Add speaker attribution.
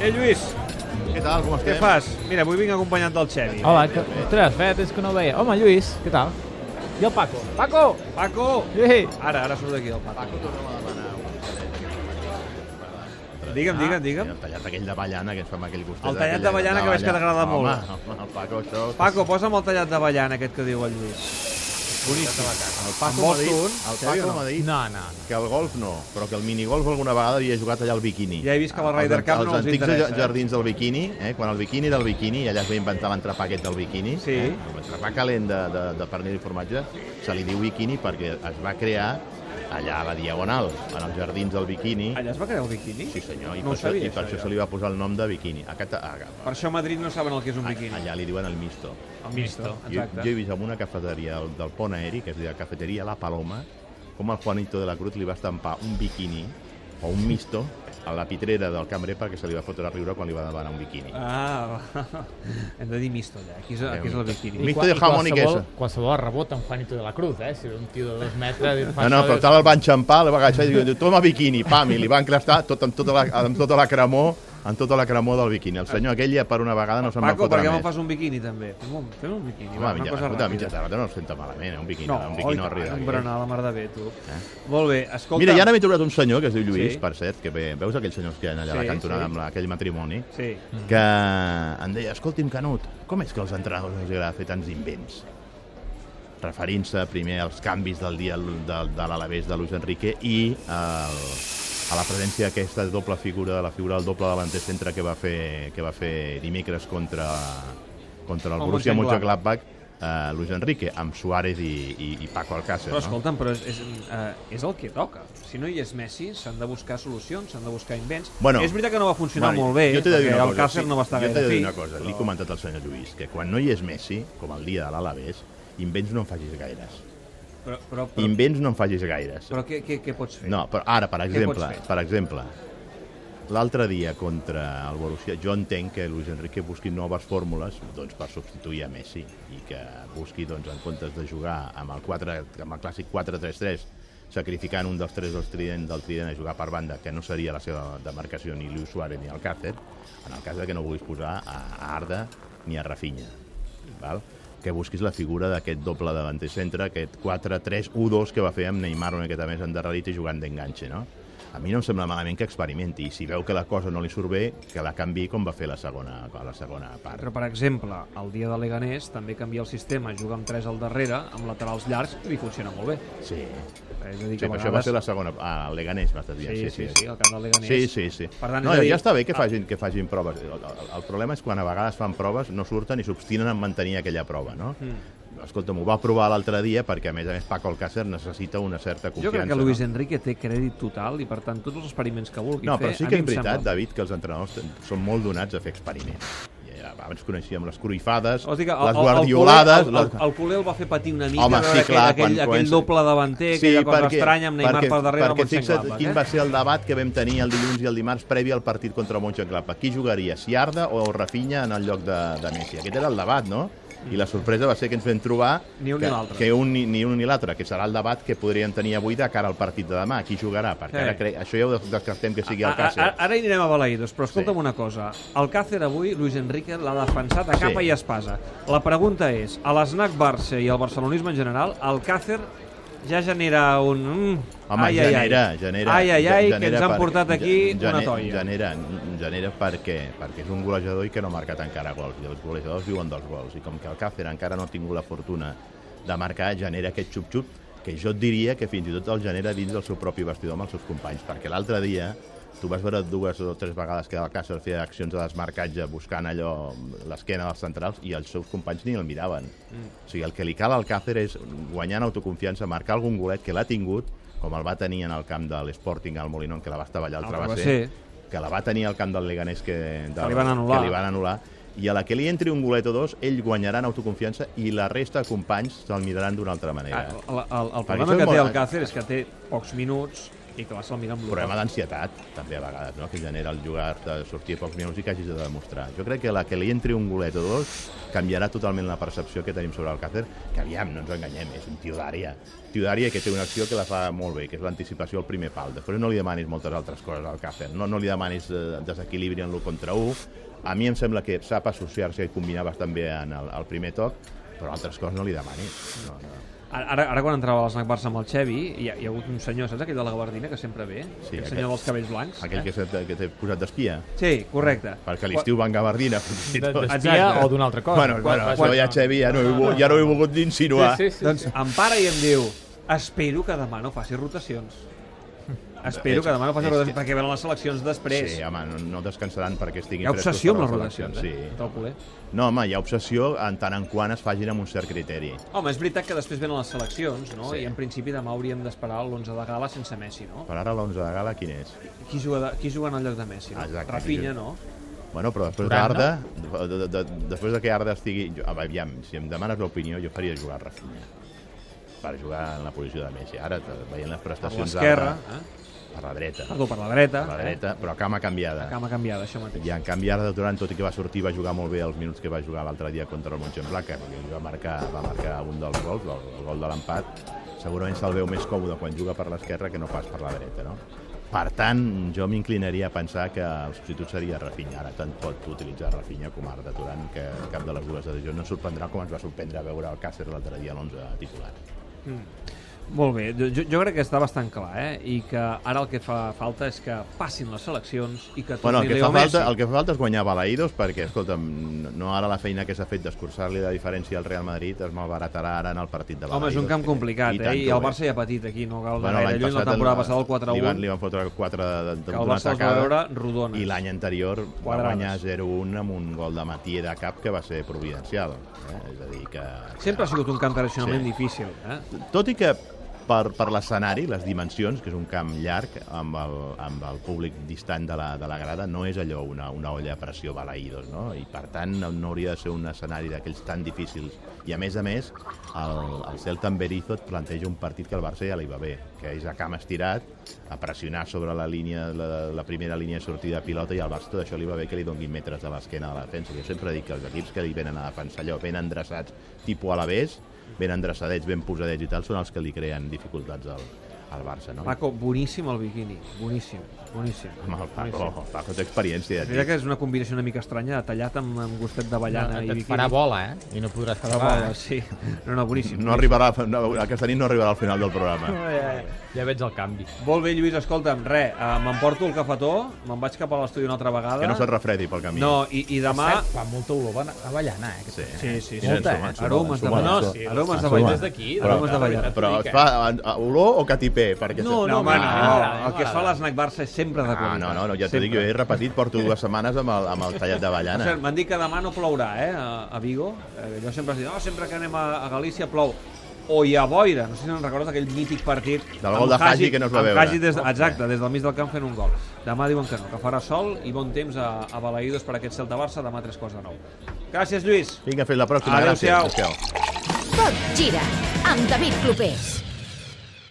Speaker 1: Eh, Lluís,
Speaker 2: Què tal, com estem?
Speaker 1: què fas? Mira, avui vinc acompanyat del Xevi.
Speaker 3: Hola, que... ostres, Fet, és que no ho veia. Home, Lluís, què tal? I el Paco. Paco!
Speaker 1: Paco!
Speaker 3: Ei!
Speaker 1: Ara, ara surt d'aquí el Paco.
Speaker 2: Paco, tornem a demanar un Ah, tallet d'aquell que fa
Speaker 1: Digue'm, digue'm,
Speaker 2: ballana.
Speaker 1: digue'm.
Speaker 2: El tallat aquell de ballana que es fa amb aquell gustet.
Speaker 1: El tallat
Speaker 2: aquell
Speaker 1: de ballana que veig que t'agrada
Speaker 2: Home,
Speaker 1: molt.
Speaker 2: Home, el Paco, això...
Speaker 1: Paco, posa'm el tallat de ballana aquest que diu el Lluís. Boníssim.
Speaker 2: el
Speaker 1: en
Speaker 2: Paco m'ha
Speaker 1: vols
Speaker 2: dit,
Speaker 1: tu un?
Speaker 2: el
Speaker 1: Xavi, o
Speaker 2: Paco
Speaker 1: no?
Speaker 2: m'ha dit
Speaker 3: No, no, no.
Speaker 2: que el golf no, però que el minigolf alguna vegada havia jugat allà al biquini. Ah,
Speaker 1: Ja he vist que la Ryder
Speaker 2: Els-
Speaker 1: Cup no els
Speaker 2: Els antics
Speaker 1: interessa,
Speaker 2: ja-
Speaker 1: eh?
Speaker 2: jardins del biquini, eh? quan el biquini del biquini, i allà es va inventar l'entrepà aquest del biquini,
Speaker 1: Sí.
Speaker 2: eh? l'entrepà calent de, de, de pernil i formatge, se li diu biquini perquè es va crear allà a la Diagonal, en els jardins del biquini.
Speaker 1: Allà es va crear el biquini?
Speaker 2: Sí, senyor, i,
Speaker 1: no
Speaker 2: per,
Speaker 1: ho sabia,
Speaker 2: això, i per això,
Speaker 1: jo.
Speaker 2: se li va posar el nom de biquini. A, Cata- a,
Speaker 1: Per això a Madrid no saben el que és un biquini.
Speaker 2: Ah, allà li diuen el misto.
Speaker 1: El misto,
Speaker 2: Jo,
Speaker 1: exacte.
Speaker 2: jo he vist en una cafeteria del, del pont aeri, que es deia Cafeteria La Paloma, com el Juanito de la Cruz li va estampar un biquini o un misto a la pitrera del cambrer perquè se li va fotre a riure quan li va demanar un biquini.
Speaker 1: Ah, va. hem de dir misto allà. Aquí és, aquí és el biquini.
Speaker 2: Misto de jamón i
Speaker 3: qualsevol,
Speaker 2: queso.
Speaker 3: qualsevol rebota en Juanito de la Cruz, eh? Si era un tio de dos metres...
Speaker 2: No, no, però tal el va enxampar, el va agafar i diu, toma biquini, pam, i li va enclastar tot, amb, tota la, amb tota la cremor amb tota la cremor del biquini. El senyor aquell ja per una vegada no se'n va
Speaker 1: Paco, per
Speaker 2: fotre
Speaker 1: què
Speaker 2: més.
Speaker 1: me'n fas un biquini, també? Fem un, fem un biquini,
Speaker 2: Home,
Speaker 1: va,
Speaker 2: a
Speaker 1: una
Speaker 2: mitja,
Speaker 1: cosa
Speaker 2: escolta, a mitja
Speaker 1: ràpida.
Speaker 2: tarda no es senta malament, eh? un biquini,
Speaker 1: No,
Speaker 2: un
Speaker 1: oi,
Speaker 2: biquini no arriba.
Speaker 1: tant, un
Speaker 2: d'aquí.
Speaker 1: berenar a la mar de bé, tu. Molt bé, escolta...
Speaker 2: Mira, ja n'he trobat un senyor que es diu Lluís,
Speaker 1: Sí.
Speaker 2: sí. per cert, que ve, veus aquells senyors que hi ha allà a
Speaker 1: Sí,
Speaker 2: la
Speaker 1: sí. Mm.
Speaker 2: cantonada sí. amb la- aquell matrimoni,
Speaker 1: Sí.
Speaker 2: que em deia, escolti'm, Canut, com és que els entrenadors els agrada fer tants invents? Referint-se primer als canvis del dia l- de, de l'Alavés de Luis Enrique i al, a la presència d'aquesta doble figura, de la figura del doble davanter centre que va fer, que va fer dimecres contra, contra el,
Speaker 1: El
Speaker 2: el Borussia
Speaker 1: Mönchengladbach.
Speaker 2: Mönchengladbach, eh, Luis Enrique, amb Suárez i, i, i Paco Alcácer.
Speaker 1: Però
Speaker 2: no?
Speaker 1: escolta'm, però és, és, eh, és el que toca. Si no hi és Messi, s'han de buscar solucions, s'han de buscar invents.
Speaker 2: Bueno,
Speaker 1: és veritat que no va funcionar molt bé,
Speaker 2: jo t'he de dir
Speaker 1: perquè
Speaker 2: una
Speaker 1: el
Speaker 2: cosa,
Speaker 1: Càcer no va estar
Speaker 2: jo t'he
Speaker 1: gaire
Speaker 2: de dir
Speaker 1: fi.
Speaker 2: una cosa, l'he comentat al senyor Lluís, que quan no hi és Messi, com el dia de l'Alavés, invents no en facis gaires.
Speaker 1: Però, però, però,
Speaker 2: Invents no en facis gaires.
Speaker 1: però què, què, què pots fer?
Speaker 2: No, però ara, per
Speaker 1: Què pots
Speaker 2: exemple,
Speaker 1: fer?
Speaker 2: per exemple, l'altre dia contra el Borussia, jo entenc que Luis Enrique busqui noves fórmules doncs, per substituir a Messi i que busqui, doncs, en comptes de jugar amb el, 4, amb el clàssic 4-3-3, sacrificant un dels tres dels trident, del trident a jugar per banda, que no seria la seva demarcació ni Luis Suárez ni Alcácer, en el cas de que no vulguis posar a a Arda ni a Rafinha. Val? que busquis la figura d'aquest doble davanter centre, aquest 4-3-1-2 que va fer amb Neymar una miqueta més endarrerit i jugant d'enganxe, no? A mi no em sembla malament que experimenti, i si veu que la cosa no li surt bé, que la canvi com va fer la segona, a la segona part.
Speaker 1: Però, per exemple, el dia de Leganés també canvia el sistema, juga amb 3 al darrere, amb laterals llargs, i li funciona molt bé.
Speaker 2: Sí,
Speaker 1: És a dir,
Speaker 2: sí però això va ser la segona... Ah, el Leganés, m'estàs
Speaker 1: Sí,
Speaker 2: dient.
Speaker 1: sí, sí, sí, el camp del Leganés.
Speaker 2: Sí, sí, sí.
Speaker 1: Per tant,
Speaker 2: no,
Speaker 1: és a dir, Ah.
Speaker 2: ja està bé que facin, que facin proves. El, el, el problema és quan a vegades fan proves, no surten i s'obstinen en mantenir aquella prova, no? Mm. Escolta'm, ho va provar l'altre dia perquè, a més a més, Paco Alcácer necessita una certa confiança.
Speaker 1: Jo crec que Luis
Speaker 2: no?
Speaker 1: Enrique té crèdit total i, per tant, tots els experiments que vulgui
Speaker 2: No,
Speaker 1: fer...
Speaker 2: però sí
Speaker 1: a
Speaker 2: que
Speaker 1: mi
Speaker 2: és
Speaker 1: em
Speaker 2: veritat,
Speaker 1: sembla-
Speaker 2: David, que els entrenadors ten- són molt donats a fer experiments. I eh, abans coneixíem les cruifades,
Speaker 1: O sigui que el-
Speaker 2: les
Speaker 1: el- el
Speaker 2: guardiolades...
Speaker 1: Culer- El,
Speaker 2: les-
Speaker 1: el, el, Culer el va fer patir una mica,
Speaker 2: Home,
Speaker 1: veure
Speaker 2: sí, clar,
Speaker 1: aquell, aquell,
Speaker 2: quan- quan-
Speaker 1: aquell doble davanter, sí, aquella cosa estranya amb Neymar
Speaker 2: perquè,
Speaker 1: per darrere
Speaker 2: perquè
Speaker 1: amb
Speaker 2: fixa't
Speaker 1: Mönchengladbach.
Speaker 2: quin
Speaker 1: Eh?
Speaker 2: va ser el debat que vam tenir el dilluns i el dimarts previ al partit contra el Mönchengladbach. Qui jugaria, si Arda o Rafinha en el lloc de, de Messi? Aquest era el debat, no? I la sorpresa va ser que ens vam trobar
Speaker 1: Ni un ni
Speaker 2: que,
Speaker 1: l'altre.
Speaker 2: que un, ni, ni un ni l'altre, que serà el debat que podríem tenir avui de cara al partit de demà. Qui jugarà? Perquè
Speaker 1: Sí.
Speaker 2: ara cre... això ja ho descartem que sigui
Speaker 1: A-
Speaker 2: el cas.
Speaker 1: a- a- Ara hi anirem a Balaïdos, però escolta'm
Speaker 2: Sí.
Speaker 1: una cosa. El Càcer avui, Luis Enrique, l'ha defensat a capa
Speaker 2: Sí.
Speaker 1: i espasa. La pregunta és, a l'esnac Barça i al barcelonisme en general, el Càcer ja genera un... Mm,
Speaker 2: Home,
Speaker 1: ai, ai,
Speaker 2: genera,
Speaker 1: ai.
Speaker 2: genera.
Speaker 1: Ai, ai, ai,
Speaker 2: ge-
Speaker 1: que ens
Speaker 2: genera
Speaker 1: han
Speaker 2: per-
Speaker 1: portat
Speaker 2: ge-
Speaker 1: aquí una
Speaker 2: gene-
Speaker 1: toia.
Speaker 2: Genera, genera perquè, perquè és un golejador i que no ha marcat encara gols. I els golejadors viuen dels gols. I com que el Càcer encara no ha tingut la fortuna de marcar, genera aquest xup-xup que jo et diria que fins i tot el genera dins del seu propi vestidor amb els seus companys. Perquè l'altre dia tu vas veure dues o tres vegades que el Càcer feia accions de desmarcatge buscant allò l'esquena dels centrals i els seus companys ni el miraven. O sigui, el que li cal al Càcer és guanyar en autoconfiança, marcar algun golet que l'ha tingut, com el va tenir en el camp de l'Sporting al Molinón, que la va estavellar al
Speaker 1: Al
Speaker 2: travesser,
Speaker 1: travesser.
Speaker 2: que la va tenir al camp del Leganés que, de,
Speaker 1: Que li van anul·lar.
Speaker 2: que li van anul·lar, i a la que li entri un golet o dos, ell guanyarà en autoconfiança i la resta de companys se'l miraran d'una altra manera.
Speaker 1: Ah, El, el, el
Speaker 2: Perquè
Speaker 1: problema
Speaker 2: això és
Speaker 1: que té
Speaker 2: molt-
Speaker 1: el Càcer és que té pocs minuts I clar, se'l mira amb
Speaker 2: problema
Speaker 1: lupa.
Speaker 2: d'ansietat, també a vegades, no? que genera el jugar de sortir a pocs minuts i que hagis de demostrar. Jo crec que la que li entri un golet o dos canviarà totalment la percepció que tenim sobre el Càcer, que aviam, no ens enganyem, és un tio d'àrea. Tio d'àrea que té una acció que la fa molt bé, que és l'anticipació al primer pal. Després no li demanis moltes altres coses al Càcer, no, no li demanis eh, desequilibri en l'1 contra 1. A mi em sembla que sap associar-se i combinar bastant bé en el, el primer toc, però altres coses no li demanis. No, no.
Speaker 1: Ara, ara- ara quan entrava a l'esnac Barça amb el Xevi, hi ha, hi ha hagut un senyor, saps aquell de la gabardina que sempre ve?
Speaker 2: Sí,
Speaker 1: aquell
Speaker 2: aquest.
Speaker 1: senyor dels cabells blancs. Eh?
Speaker 2: Aquell que s'ha- que t'he posat d'espia,
Speaker 1: Sí, correcte.
Speaker 2: perquè a l'estiu van gabardina, fins i tot.
Speaker 3: D'espia
Speaker 1: Exacte.
Speaker 3: o d'una altra cosa.
Speaker 2: Bueno,
Speaker 3: Quan-
Speaker 2: bueno,
Speaker 3: quan-
Speaker 2: això ja, Xevi, ja no, he, volgut- ja no he volgut insinuar.
Speaker 3: Sí, sí, sí.
Speaker 1: Doncs
Speaker 3: sí.
Speaker 1: em para i em diu espero que demà no faci rotacions. Espero que demà no faci
Speaker 2: És
Speaker 1: rotacions,
Speaker 2: que-
Speaker 1: perquè venen les seleccions després.
Speaker 2: Sí, home, no, no descansaran perquè estiguin
Speaker 1: Hi ha
Speaker 2: frescos
Speaker 1: obsessió amb
Speaker 2: per
Speaker 1: les rotacions, eh?
Speaker 2: eleccions,
Speaker 1: Del culer.
Speaker 2: Sí. No, home, hi ha obsessió en tant en quant es fagin amb un cert criteri.
Speaker 1: Home, és veritat que després venen les seleccions, no?
Speaker 2: Sí.
Speaker 1: I en principi demà hauríem d'esperar l'11 de gala sense Messi, no?
Speaker 2: Per ara l'11 de gala quin és?
Speaker 1: Qui juga, de, qui juga en el lloc de Messi, no?
Speaker 2: Exacte.
Speaker 1: Rafinha, no?
Speaker 2: Bueno, però després
Speaker 3: Turan,
Speaker 2: d'Arda, de, de, de, després de que Arda estigui... Jo, aviam, si em demanes l'opinió, jo faria jugar Rafinha per jugar en la posició de Messi. Ara, te- veient les
Speaker 1: Per
Speaker 2: prestacions
Speaker 1: l'esquerra, eh?
Speaker 2: per la dreta,
Speaker 1: Perdó, per la dreta.
Speaker 2: per la dreta, però a cama
Speaker 1: Eh?
Speaker 2: canviada.
Speaker 1: Cama canviada, això mateix.
Speaker 2: I en canvi ara Durant, tot i que va sortir, va jugar molt bé els minuts que va jugar l'altre dia contra el Montgenblanca, perquè va marcar, va marcar un dels gols, el, el gol de l'empat, segurament se'l veu més còmode quan juga per l'esquerra que no pas per la dreta, no? Per tant, jo m'inclinaria a pensar que el substitut seria Rafinha. Ara tant pot utilitzar Rafinha com Arda Turan, que cap de les dues decisions no ens sorprendrà com ens va sorprendre veure el Càcer l'altre dia a l'11 titular.
Speaker 1: Molt bé, jo, jo- jo crec que està bastant clar, eh? I que ara el que fa falta és que passin les seleccions i que torni
Speaker 2: Bueno, el que,
Speaker 1: Leo
Speaker 2: fa
Speaker 1: Messi.
Speaker 2: falta, el que fa falta és guanyar Balaïdos perquè, escolta'm, no- no ara la feina que s'ha fet d'escurçar-li la diferència al Real Madrid es malbaratarà ara en el partit de Balaïdos.
Speaker 1: Home, és un camp
Speaker 2: que-
Speaker 1: complicat,
Speaker 2: tant
Speaker 1: eh? I
Speaker 2: que ho
Speaker 1: el
Speaker 2: és.
Speaker 1: Barça ja ha patit aquí, no cal
Speaker 2: Bueno,
Speaker 1: bueno, gaire
Speaker 2: l'any
Speaker 1: lluny, la
Speaker 2: passat
Speaker 1: temporada
Speaker 2: el-
Speaker 1: passada el
Speaker 2: Li van, li
Speaker 1: 4-1,
Speaker 2: van fotre 4 de, de,
Speaker 1: que
Speaker 2: de
Speaker 1: el Barça
Speaker 2: d'una
Speaker 1: els va
Speaker 2: tacada,
Speaker 1: veure rodones.
Speaker 2: i l'any anterior va
Speaker 1: Quadrades.
Speaker 2: guanyar 0-1 amb un gol de Matier de cap que va ser providencial. Eh? És a dir, que...
Speaker 1: Sempre ha sigut un camp tradicionalment
Speaker 2: Sí.
Speaker 1: difícil, eh?
Speaker 2: Tot i que per, per l'escenari, les dimensions, que és un camp llarg, amb el, amb el públic distant de la, de la grada, no és allò una, una olla a pressió balaïdos, no? I per tant no, no hauria de ser un escenari d'aquells tan difícils. I a més a més, el, el Celta amb Berizzo et planteja un partit que al Barça ja li va bé, que és a camp estirat, a pressionar sobre la línia, la, la primera línia de sortida de pilota i al Barça tot això li va bé que li donguin metres de l'esquena a la defensa. Jo sempre dic que els equips que li venen a defensar allò ben endreçats, tipus a la vés, ben endreçadets, ben posadets i tal, són els que li creen dificultats al, al Barça, no?
Speaker 1: Paco, boníssim el biquini, boníssim, boníssim.
Speaker 2: Amb el Paco,
Speaker 1: Boníssim.
Speaker 2: el Paco té
Speaker 1: És
Speaker 2: experiència. Ja
Speaker 1: veritat
Speaker 2: et dic.
Speaker 1: que és una combinació una mica estranya, de tallat amb, amb gustet d'avellana i
Speaker 3: Et
Speaker 1: biquini.
Speaker 3: farà bola, eh? I no podràs
Speaker 1: Farà
Speaker 3: quedar
Speaker 1: bola, sí. No, no, boníssim.
Speaker 2: No arribarà, no, aquesta nit no arribarà al final del programa.
Speaker 1: eh?
Speaker 3: Ja veig el canvi.
Speaker 1: Molt bé, Lluís, escolta'm, res, uh, m'emporto el cafetó, me'n vaig cap a l'estudi una altra vegada.
Speaker 2: Que no se't refredi pel camí.
Speaker 1: No, i, i demà...
Speaker 3: Cert, Fa molta olor bona- avellana, eh?
Speaker 2: Sí,
Speaker 1: Sí, sí, sí.
Speaker 3: Molta,
Speaker 2: ensuma,
Speaker 3: eh?
Speaker 2: ensuma,
Speaker 1: Aromes de
Speaker 2: ensuma,
Speaker 1: ballada.
Speaker 2: ensuma.
Speaker 3: sí,
Speaker 1: aromes de
Speaker 2: ensuma.
Speaker 1: ballada.
Speaker 3: Des d'aquí,
Speaker 2: Però-
Speaker 1: aromes de ballada.
Speaker 2: Però
Speaker 3: t'ho
Speaker 2: es
Speaker 3: dic,
Speaker 2: fa a, a olor o catipé? Perquè
Speaker 3: No,
Speaker 1: No, home, no,
Speaker 3: m'agrada,
Speaker 1: no, el que es fa a
Speaker 3: m'agrada.
Speaker 1: l'esnac Barça és sempre de
Speaker 2: Ah,
Speaker 1: qualitat.
Speaker 2: no, no, no, ja t'ho dic, jo
Speaker 1: Sempre.
Speaker 2: he repetit, porto dues setmanes amb el, amb el tallat
Speaker 1: Per
Speaker 2: d'avellana.
Speaker 1: cert, M'han dit que demà no plourà, eh, a, a Vigo. Eh, jo sempre dic, oh, sempre que anem a, a Galícia plou. O hi ha boira, no sé si no recordes aquell mític partit
Speaker 2: Del gol de Hagi que no es va veure.
Speaker 1: Hagi des, exacte, des del mig del camp fent un gol. Demà diuen que no, que farà sol i bon temps a, a Balaïdos per aquest Celta-Barça, demà tres quarts de nou. Gràcies, Lluís.
Speaker 2: Vinga, fins la pròxima.
Speaker 1: Adéu-siau.
Speaker 2: Gràcies. Adéu-siau.
Speaker 4: Tot gira amb David Clopés.